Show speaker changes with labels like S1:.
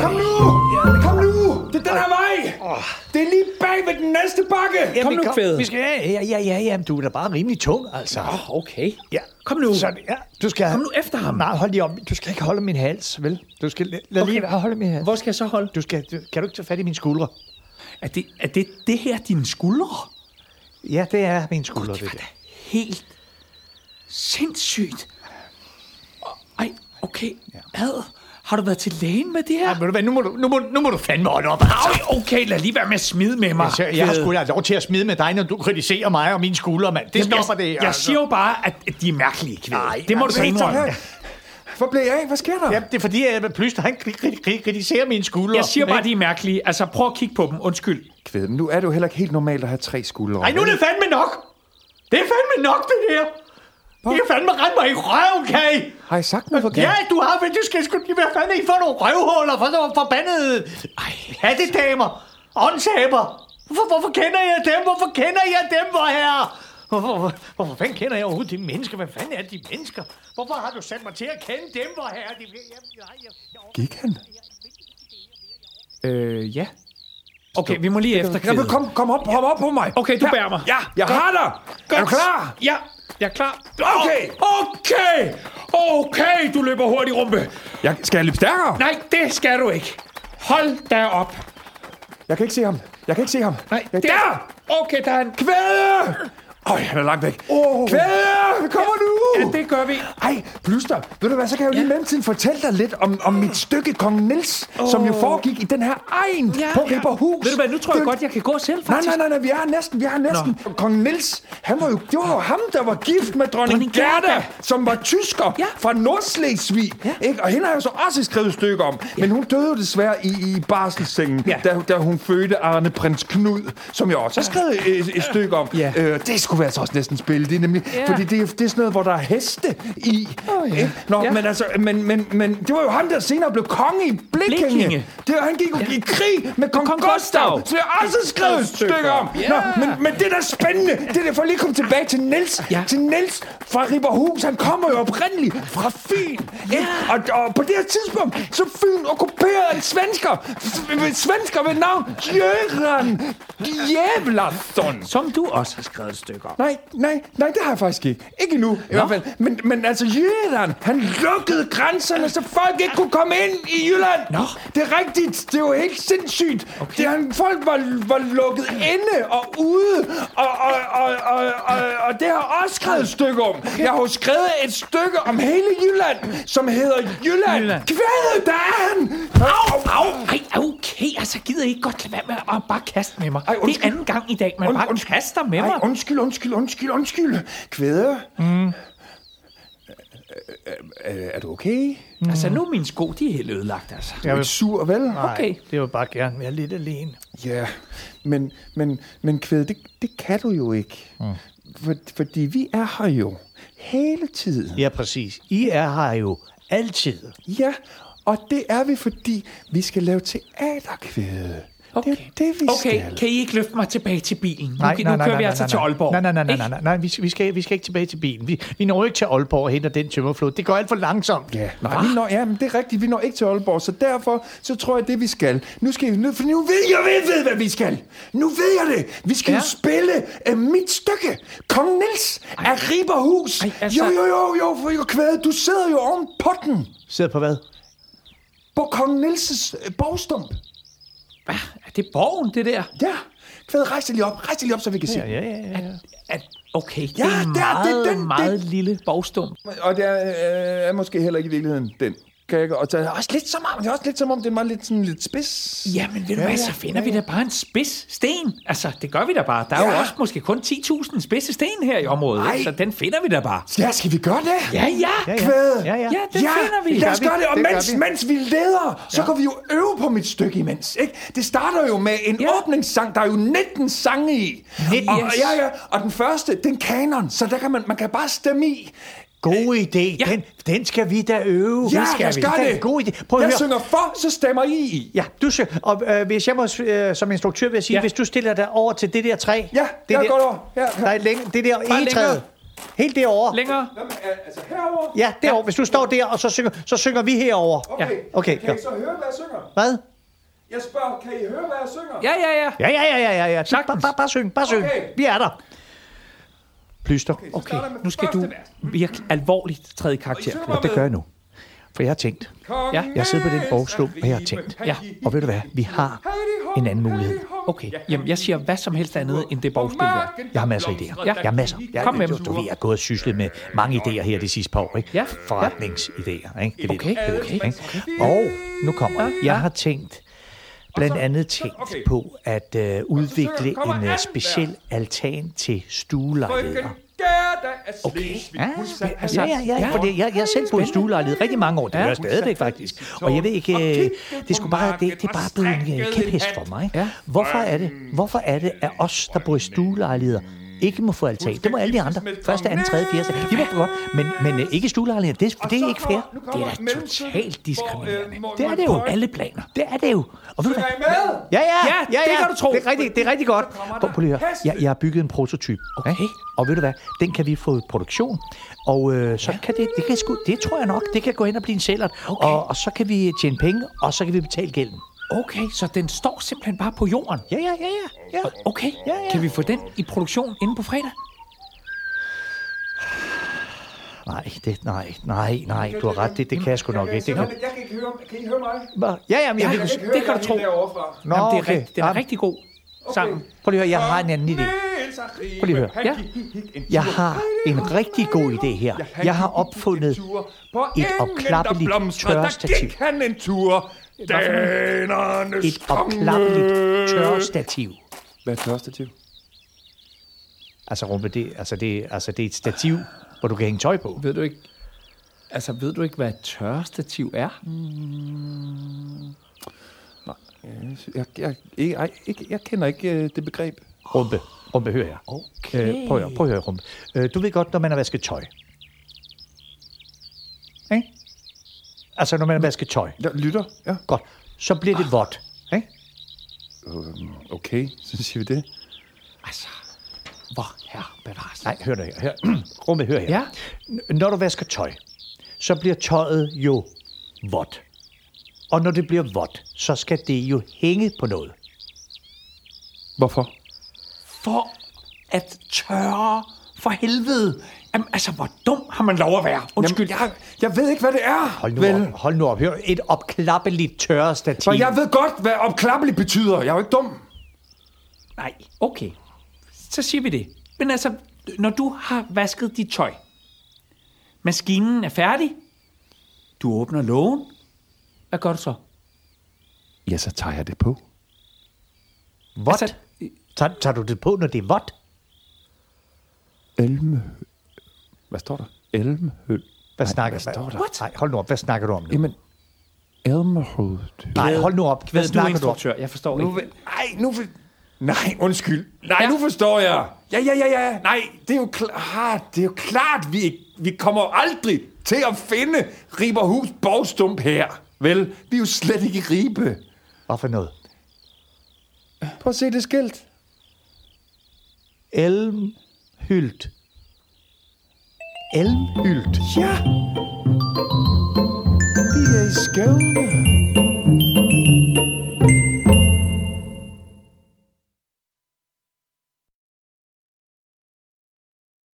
S1: Kom nu! Kom nu! Det er den her vej! Det er lige bag ved den næste bakke!
S2: Kom nu, kvæde.
S3: Vi skal, ja, ja, ja, ja, jamen, du er da bare rimelig tung, altså.
S2: Åh, okay.
S3: Ja.
S2: Kom nu.
S3: Så, ja, du skal...
S2: Kom nu efter ham.
S3: Nej, hold lige om. Du skal ikke holde min hals, vel? Du skal... Lad okay. lige være- holde min hals.
S2: Hvor skal jeg så holde?
S3: Du skal... Du, kan du ikke tage fat i mine skuldre?
S2: Er det, er det, det her dine skuldre?
S3: Ja, det er mine skuldre, det, det der.
S2: Helt sindssygt. Og- Ej, okay. Ad, har du været til lægen med det her?
S3: Ja, ved du hvad, nu må du, nu må, nu må du fandme holde op.
S2: Ej, okay, lad lige være med at smide med mig.
S3: Altså, jeg har
S2: Kvæde.
S3: sgu da lov til at smide med dig, når du kritiserer mig og mine skuldre, mand. Det
S2: Jamen,
S3: stopper det.
S2: jeg,
S3: altså.
S2: Jeg siger jo bare, at at de er mærkelige kvæde.
S3: Nej,
S2: det må du
S3: altså,
S2: så
S3: Victor,
S2: indrømme.
S1: Hvor blev jeg af? Hvad sker der?
S3: Ja, det er fordi, at Plyster, han kri- kri- kri- kritiserer mine skuldre.
S2: Jeg siger bare, at
S3: Ikke?
S2: de er mærkelige. Altså, prøv at kigge på dem. Undskyld.
S1: Kvæd, men nu er det jo heller ikke helt normalt at have tre skuldre.
S3: Ej, nu er det fandme nok! Det er fandme nok, det der! I kan fandme rende mig i røven, kan I?
S1: Har I sagt noget forkert?
S3: Ja, du har vel, du skal sgu være fandme i for nogle røvhuller, for nogle forbandede Ej, hattedamer, åndsaber. Hvorfor, hvorfor kender jeg dem? Hvorfor kender jeg dem, hvor herre? Hvorfor, hvor- hvorfor fanden kender jeg overhovedet de mennesker? Hvad fanden er de mennesker? Hvorfor har du sat mig til at kende dem, hvor herre? De, jeg, jeg, jeg, jeg,
S1: Gik han?
S2: Øh, ja. Okay, vi må lige efter
S1: Ja, men kom, kom op, hop op på mig.
S2: Okay, du bærer mig.
S1: Ja, jeg har dig. Er du klar?
S2: Ja, jeg er klar.
S1: Okay.
S2: Okay! Okay, du løber hurtigt, rumpe.
S1: Jeg, skal jeg løbe stærkere?
S2: Nej, det skal du ikke. Hold da op.
S1: Jeg kan ikke se ham. Jeg kan ikke se ham.
S2: Nej,
S1: jeg,
S2: det er... Okay, der er en kvæl.
S1: Kvæde! Øj, han er langt væk.
S2: Åh.
S1: Kvæde! Vi kommer nu!
S2: Ja, det gør vi.
S1: Ej, Plyster, ved du hvad, så kan jeg jo lige i mellemtiden fortælle dig lidt om, om mit stykke Kong Nils, oh. som jo foregik i den her egen ja, på Ripperhus.
S2: Ved du hvad, nu tror jeg
S1: Det-
S2: godt, jeg kan gå selv,
S1: Nej,
S2: faktisk.
S1: nej, nej, nej, vi er næsten, vi er næsten. Nå. Kong Nils, han var jo, det var jo ham, der var gift med dronning,
S2: Dronning
S1: dronning
S2: Gerda.
S1: Gerda, som var tysker ja.
S2: Ja.
S1: fra Nordslesvig.
S2: Ja.
S1: Ja. Ikke? Og hende har jeg så også skrevet et stykke om. Ja. Men hun døde jo desværre i, i barselssengen,
S2: Ja.
S1: ja. da, da hun fødte Arne Prins Knud, som jeg også har skrevet et, et stykke om.
S2: Ja.
S1: Ja. Øh, det skulle vi altså også næsten spille, det er nemlig,
S2: Ja.
S1: ja. fordi det, er- det er sådan noget, hvor der er heste i.
S2: Åh, ja.
S1: Ikke? Nå,
S2: Ja.
S1: ja. men altså, men, men, men det var jo ham, der senere blev konge i Blikkinge.
S2: Blikkinge.
S1: Blikkinge. Det, var- han gik jo i krig med kong,
S2: Kong
S1: kong
S2: Gustav.
S1: Gustav, så jeg har også skrevet et stykke om.
S2: Ja.
S1: Nå, men, men det der er spændende, det er for lige at komme tilbage til Niels.
S2: Ja.
S1: Ja. Til Niels fra Riberhus, han kommer jo oprindeligt fra Fyn. ikke? Og, og på det her tidspunkt, så er Fyn okkuperet af en svensker. S- Svensker ved navn Jørgen Djævlasson.
S2: Som du også har skrevet et stykke om.
S1: Nej, nej, nej, det har jeg faktisk ikke. Ikke endnu, i hvert fald. Men, men altså, Jylland, han lukkede grænserne, så folk ikke kunne komme ind i Jylland.
S2: Nå.
S1: Det er rigtigt, det er jo helt sindssygt. Okay. Det, han, folk var, var lukket inde og ude, og, og, og, og, og, og det har jeg også skrevet et stykke om. Okay. Jeg har jo skrevet et stykke om hele Jylland, som hedder Jylland.
S2: Jylland.
S1: Jylland. Kvædet, der er han!
S2: Au, au, ej, okay, altså gider I ikke godt lade være med at bare kaste med mig?
S1: Ej,
S2: Ej, det er
S1: undskyld.
S2: anden gang i dag, man
S1: Und-
S2: bare
S1: undskyld.
S2: kaster med mig.
S1: Ej, undskyld, undskyld, undskyld, undskyld. Kvæde. Mm. øh, Er, er du okay?
S2: Altså, nu er mine sko, de er helt ødelagt, altså.
S1: Jeg er ikke sur, vel?
S3: Nej,
S2: Okay.
S3: det var bare gerne være lidt alene.
S1: Ja, men, men, men kvæde, det, det kan du jo ikke. Mm. For, fordi vi er her jo hele tiden.
S3: Ja, præcis. I er her jo altid.
S1: Ja, og det er vi, fordi vi skal lave teaterkvæde.
S2: Okay.
S1: Det er det, vi
S2: Okay,
S1: skal.
S2: kan I ikke løfte mig tilbage til bilen? Nu, nu kører vi altså til Aalborg.
S3: Nej, nej, nej, nej,
S2: Ikke?
S3: nej, nej, nej. Vi, vi, skal, vi skal ikke tilbage til bilen. Vi, vi når ikke til Aalborg og henter den tømmerflod. Det går alt for langsomt.
S1: Ja, nej, vi når, ja, men det er rigtigt, vi når ikke til Aalborg, så derfor så tror jeg, det vi skal. Nu skal vi, nu, for nu ved jeg, jeg ved, hvad vi skal. Nu ved jeg det. Vi skal
S2: Ja.
S1: ja. jo spille uh, mit stykke. Kong Nils af Riberhus.
S2: Ej,
S1: Ej, altså. Jo,
S2: altså-
S1: jo, jo, jo, for jo kvæde, du sidder jo oven på den.
S3: Sidder på hvad?
S1: På Kong Nils' øh, bogstump.
S2: Hvad? Er det borgen, det der?
S1: Ja. Kvæde, rejs dig lige op. Rejs dig lige op, så vi kan se.
S3: Ja, ja, ja.
S2: Er, okay, det
S1: Ja,
S2: er
S1: der,
S2: en
S1: det er
S2: meget,
S1: den, det-
S2: meget lille bogstum.
S1: Og det er, øh, er måske heller ikke i virkeligheden den. Kan jeg, ikke- og så er det også lidt som om, det er også lidt som om, det er meget lidt, sådan, lidt spids.
S2: Jamen, ved du
S1: Ja,
S2: hvad,
S1: ja,
S2: så finder
S1: ja,
S2: vi da bare en spids sten. Altså, det gør vi da bare. Der er jo
S1: Ja.
S2: også måske kun 10.000 spidse sten her i området,
S1: Ej.
S2: ikke? så den finder vi da bare.
S1: Ja, skal vi gøre det?
S2: Ja, ja.
S1: Kvæde.
S3: Ja, ja.
S2: Ja, den finder vi.
S1: Lad os
S3: Det gør
S1: gøre
S3: vi.
S1: det, og
S3: Det gør
S1: mens,
S3: vi.
S1: mens vi leder, så kan vi jo øve på mit stykke imens. Ikke? Det starter jo med en
S2: Ja.
S1: åbningssang, der er jo 19 sange i.
S2: 19,
S1: og,
S2: yes.
S1: ja, ja, og den første, den kanon, så der kan man, man kan bare stemme i.
S3: God idé.
S2: ja.
S3: Den, den skal vi da øve.
S1: Ja,
S3: det skal
S1: lad os
S3: vi.
S1: gøre
S3: er
S1: det.
S3: en God idé. Prøv at
S1: jeg
S3: høre.
S1: synger for, så stemmer I i.
S3: Ja, du synger. Og øh, hvis jeg må, øh, som instruktør vil jeg sige,
S2: Ja.
S3: ja. hvis du stiller dig over til det der træ.
S1: Ja,
S3: det
S1: jeg
S3: der,
S1: går over. Ja.
S3: Der er længe, det der
S2: Bare
S3: egetræet.
S2: længere.
S3: Helt derovre.
S2: Længere.
S1: Nå, men, øh, altså herover.
S3: Ja, derovre. Hvis du står der, og så synger, så synger vi herover.
S1: Okay.
S2: Ja.
S3: Okay,
S1: Kan I
S3: ja.
S1: så høre, hvad jeg synger?
S3: Hvad?
S1: Jeg spørger, kan I høre, hvad jeg synger?
S2: Ja, ja, ja.
S3: Ja, ja, ja, ja, ja. ja. Bare,
S2: Sagtens.
S3: bare, bare syng, bare syng.
S1: Okay.
S3: Vi er der. Plyster.
S2: Okay,
S1: starter jeg med
S2: nu skal du
S1: første vers.
S2: virkelig alvorligt træde i karakter.
S1: synger
S2: Knud.
S1: bare
S3: Det gør jeg nu. For jeg har tænkt,
S2: Ja.
S1: Kongen
S3: Jeg sidder på den
S1: er
S3: bogslum, og jeg har
S1: ribe.
S3: tænkt.
S2: Ja.
S3: og ved du hvad, vi har en anden mulighed.
S2: Okay, jamen jeg siger hvad som helst andet end det bogspil der.
S3: Jeg har masser af idéer.
S2: Ja.
S3: Jeg har masser. Jeg,
S2: Kom med
S3: du,
S2: dem.
S3: du ved, jeg har gået og syslet med mange idéer her de sidste par år, ikke?
S2: Ja.
S3: Forretningsidéer, ikke? Det er det,
S2: Okay,
S3: det er det,
S2: okay.
S3: ikke? Og nu kommer det. Jeg har tænkt, blandt andet tænkt
S1: okay.
S3: på at øh, udvikle
S1: kommer
S3: en øh,
S1: anden
S3: speciel altan til
S1: Frøken
S3: stuelejligheder.
S1: Gerda er
S3: ah. Okay.
S1: Slesvig.
S3: Ja,
S1: Hun
S3: ja,
S1: sagde,
S2: altså,
S3: ja, ja, ja,
S2: ja.
S3: for det, jeg, jeg er selv på en stuelejlighed rigtig mange år. Det
S2: Ja.
S3: gør jeg stadigvæk, faktisk. Og jeg ved ikke, øh, det, skulle bare, det, det er bare blevet en øh, kæphest for mig.
S2: Ja.
S3: Hvorfor er det,
S1: Mm.
S3: hvorfor er det at os, der bor i stuelejligheder, ikke må få altan? Det må alle de andre. Første, anden, tredje, fjerde. De må få godt, men, men øh, ikke stuelejligheder. Det,
S1: Og
S3: det
S1: så
S3: er ikke
S1: kommer-
S3: fair.
S1: nu
S2: Det
S1: kommer
S2: er da
S1: mellemtiden,
S2: totalt
S1: hvor,
S2: diskriminerende.
S1: øh, Morten
S3: Det er det jo.
S1: Høj-
S3: Alle planer. Det er det jo. Og ved du
S1: Er I
S3: hvad?
S1: med?
S3: Ja, ja,
S2: Ja, det kan du tro.
S3: Det er rigtig, det er rigtig godt.
S1: kommer der
S3: Prøv, prøv lige at høre.
S1: heste.
S3: Jeg, jeg har bygget en prototyp.
S2: Okay.
S3: ikke? Og ved du hvad? Den kan vi få i produktion. Og øh, så kan det, det kan sgu, det tror jeg nok, det kan gå hen og blive en sælger. Okay. Og, og så kan vi tjene penge, og så kan vi betale gælden.
S2: Okay, så den står simpelthen bare på jorden.
S3: Ja, ja, ja, ja. ja.
S2: Okay,
S3: Ja, ja.
S2: kan vi få den i produktion inden på fredag?
S3: Nej, det, nej, nej, nej. Du har ret. Det, det kan jeg sgu nok
S1: Jeg
S3: ikke. Det
S1: simpelthen-
S3: kan,
S1: Jeg kan ikke høre, kan I høre mig?
S3: Hva? ja, ja, men
S1: Jeg
S3: jeg,
S1: kan
S3: vil kunne...
S1: ikke
S3: s-
S1: høre
S2: det kan
S1: jer
S2: du tro.
S1: helt derovre fra.
S3: Nå,
S2: Jamen, det er,
S3: okay.
S2: rigtig, den er
S3: Ja.
S2: rigtig god sammen.
S3: Prøv lige at høre, jeg har en anden idé.
S1: Niels er ribe.
S3: Prøv lige at høre.
S1: Han
S2: Ja.
S1: gik- gik en
S3: Jeg
S1: tur.
S3: har en rigtig god idé her.
S1: han
S3: Jeg har
S1: gik en
S3: opfundet
S1: tur. På
S3: et
S1: engen,
S3: opklappeligt
S1: der blomstrede,
S3: tørrestativ.
S1: Der gik han en tur. Danernes
S3: et opklappeligt tørrestativ.
S1: Hvad er tørrestativ?
S3: Altså, rumpe, det, altså, det, altså, det er et stativ, hvor du kan hænge tøj på.
S2: Ved du ikke, altså ved du ikke, hvad et tørrestativ er?
S1: Jeg, jeg, ikke, ej, ikke, jeg kender ikke øh, det begreb.
S3: Rumpe, rumpe, hør her. Okay. Øh, prøv at høre, prøv at høre, rumpe. Øh, du ved godt, når man har vasket tøj. Ikke? Altså, når man har vasket tøj.
S1: Jeg lytter. Ja,
S3: Godt. Så bliver det vådt. Ikke?
S1: okay. Så siger vi det.
S2: Altså, hvor her bevares.
S3: Nej, hør nu her. Hør. rumpe, hør her.
S2: Ja.
S3: N- Når du vasker tøj, så bliver tøjet jo vådt. Og når det bliver vådt, så skal det jo hænge på noget.
S1: Hvorfor?
S2: For at tørre for helvede. Jamen, altså, hvor dum har man lov at være? Undskyld.
S1: Jamen, jeg, jeg ved ikke, hvad det er.
S3: Hold nu
S1: vel?
S3: op, hold nu op. Hør, et opklappeligt tørrestativ.
S1: For jeg ved godt, hvad opklappeligt betyder. Jeg er jo ikke dum.
S2: Nej, okay. Så siger vi det. Men altså, når du har vasket dit tøj, maskinen er færdig, du åbner lågen, hvad gør du så?
S1: Ja, så tager jeg det på.
S3: Vådt?
S2: Altså,
S3: Altså, tager, tager du det på, når det er vådt?
S1: Elme. Hvad står der? Elmehøl.
S3: Hvad snakker
S1: hvad står
S3: du
S1: der?
S3: om? Nej, hold nu op. Hvad snakker du om nu?
S1: Jamen, Elmehøl.
S3: Nej, hold nu op. Hvad
S2: Ved du er
S3: snakker du om?
S2: instruktør? Jeg forstår ikke.
S1: Nej, nu... For... Nej, undskyld. Nej, ja. nu forstår jeg. Ja, ja, ja, ja. Nej, det er jo klart, det er jo klart vi, ikke- vi kommer aldrig til at finde Riberhus Borgstump her. Vel, vi er jo slet ikke i Ribe.
S3: Hvad for noget?
S1: Prøv at se det skilt.
S3: Elmhylt. Elmhylt.
S1: Ja. Vi er i Skåne.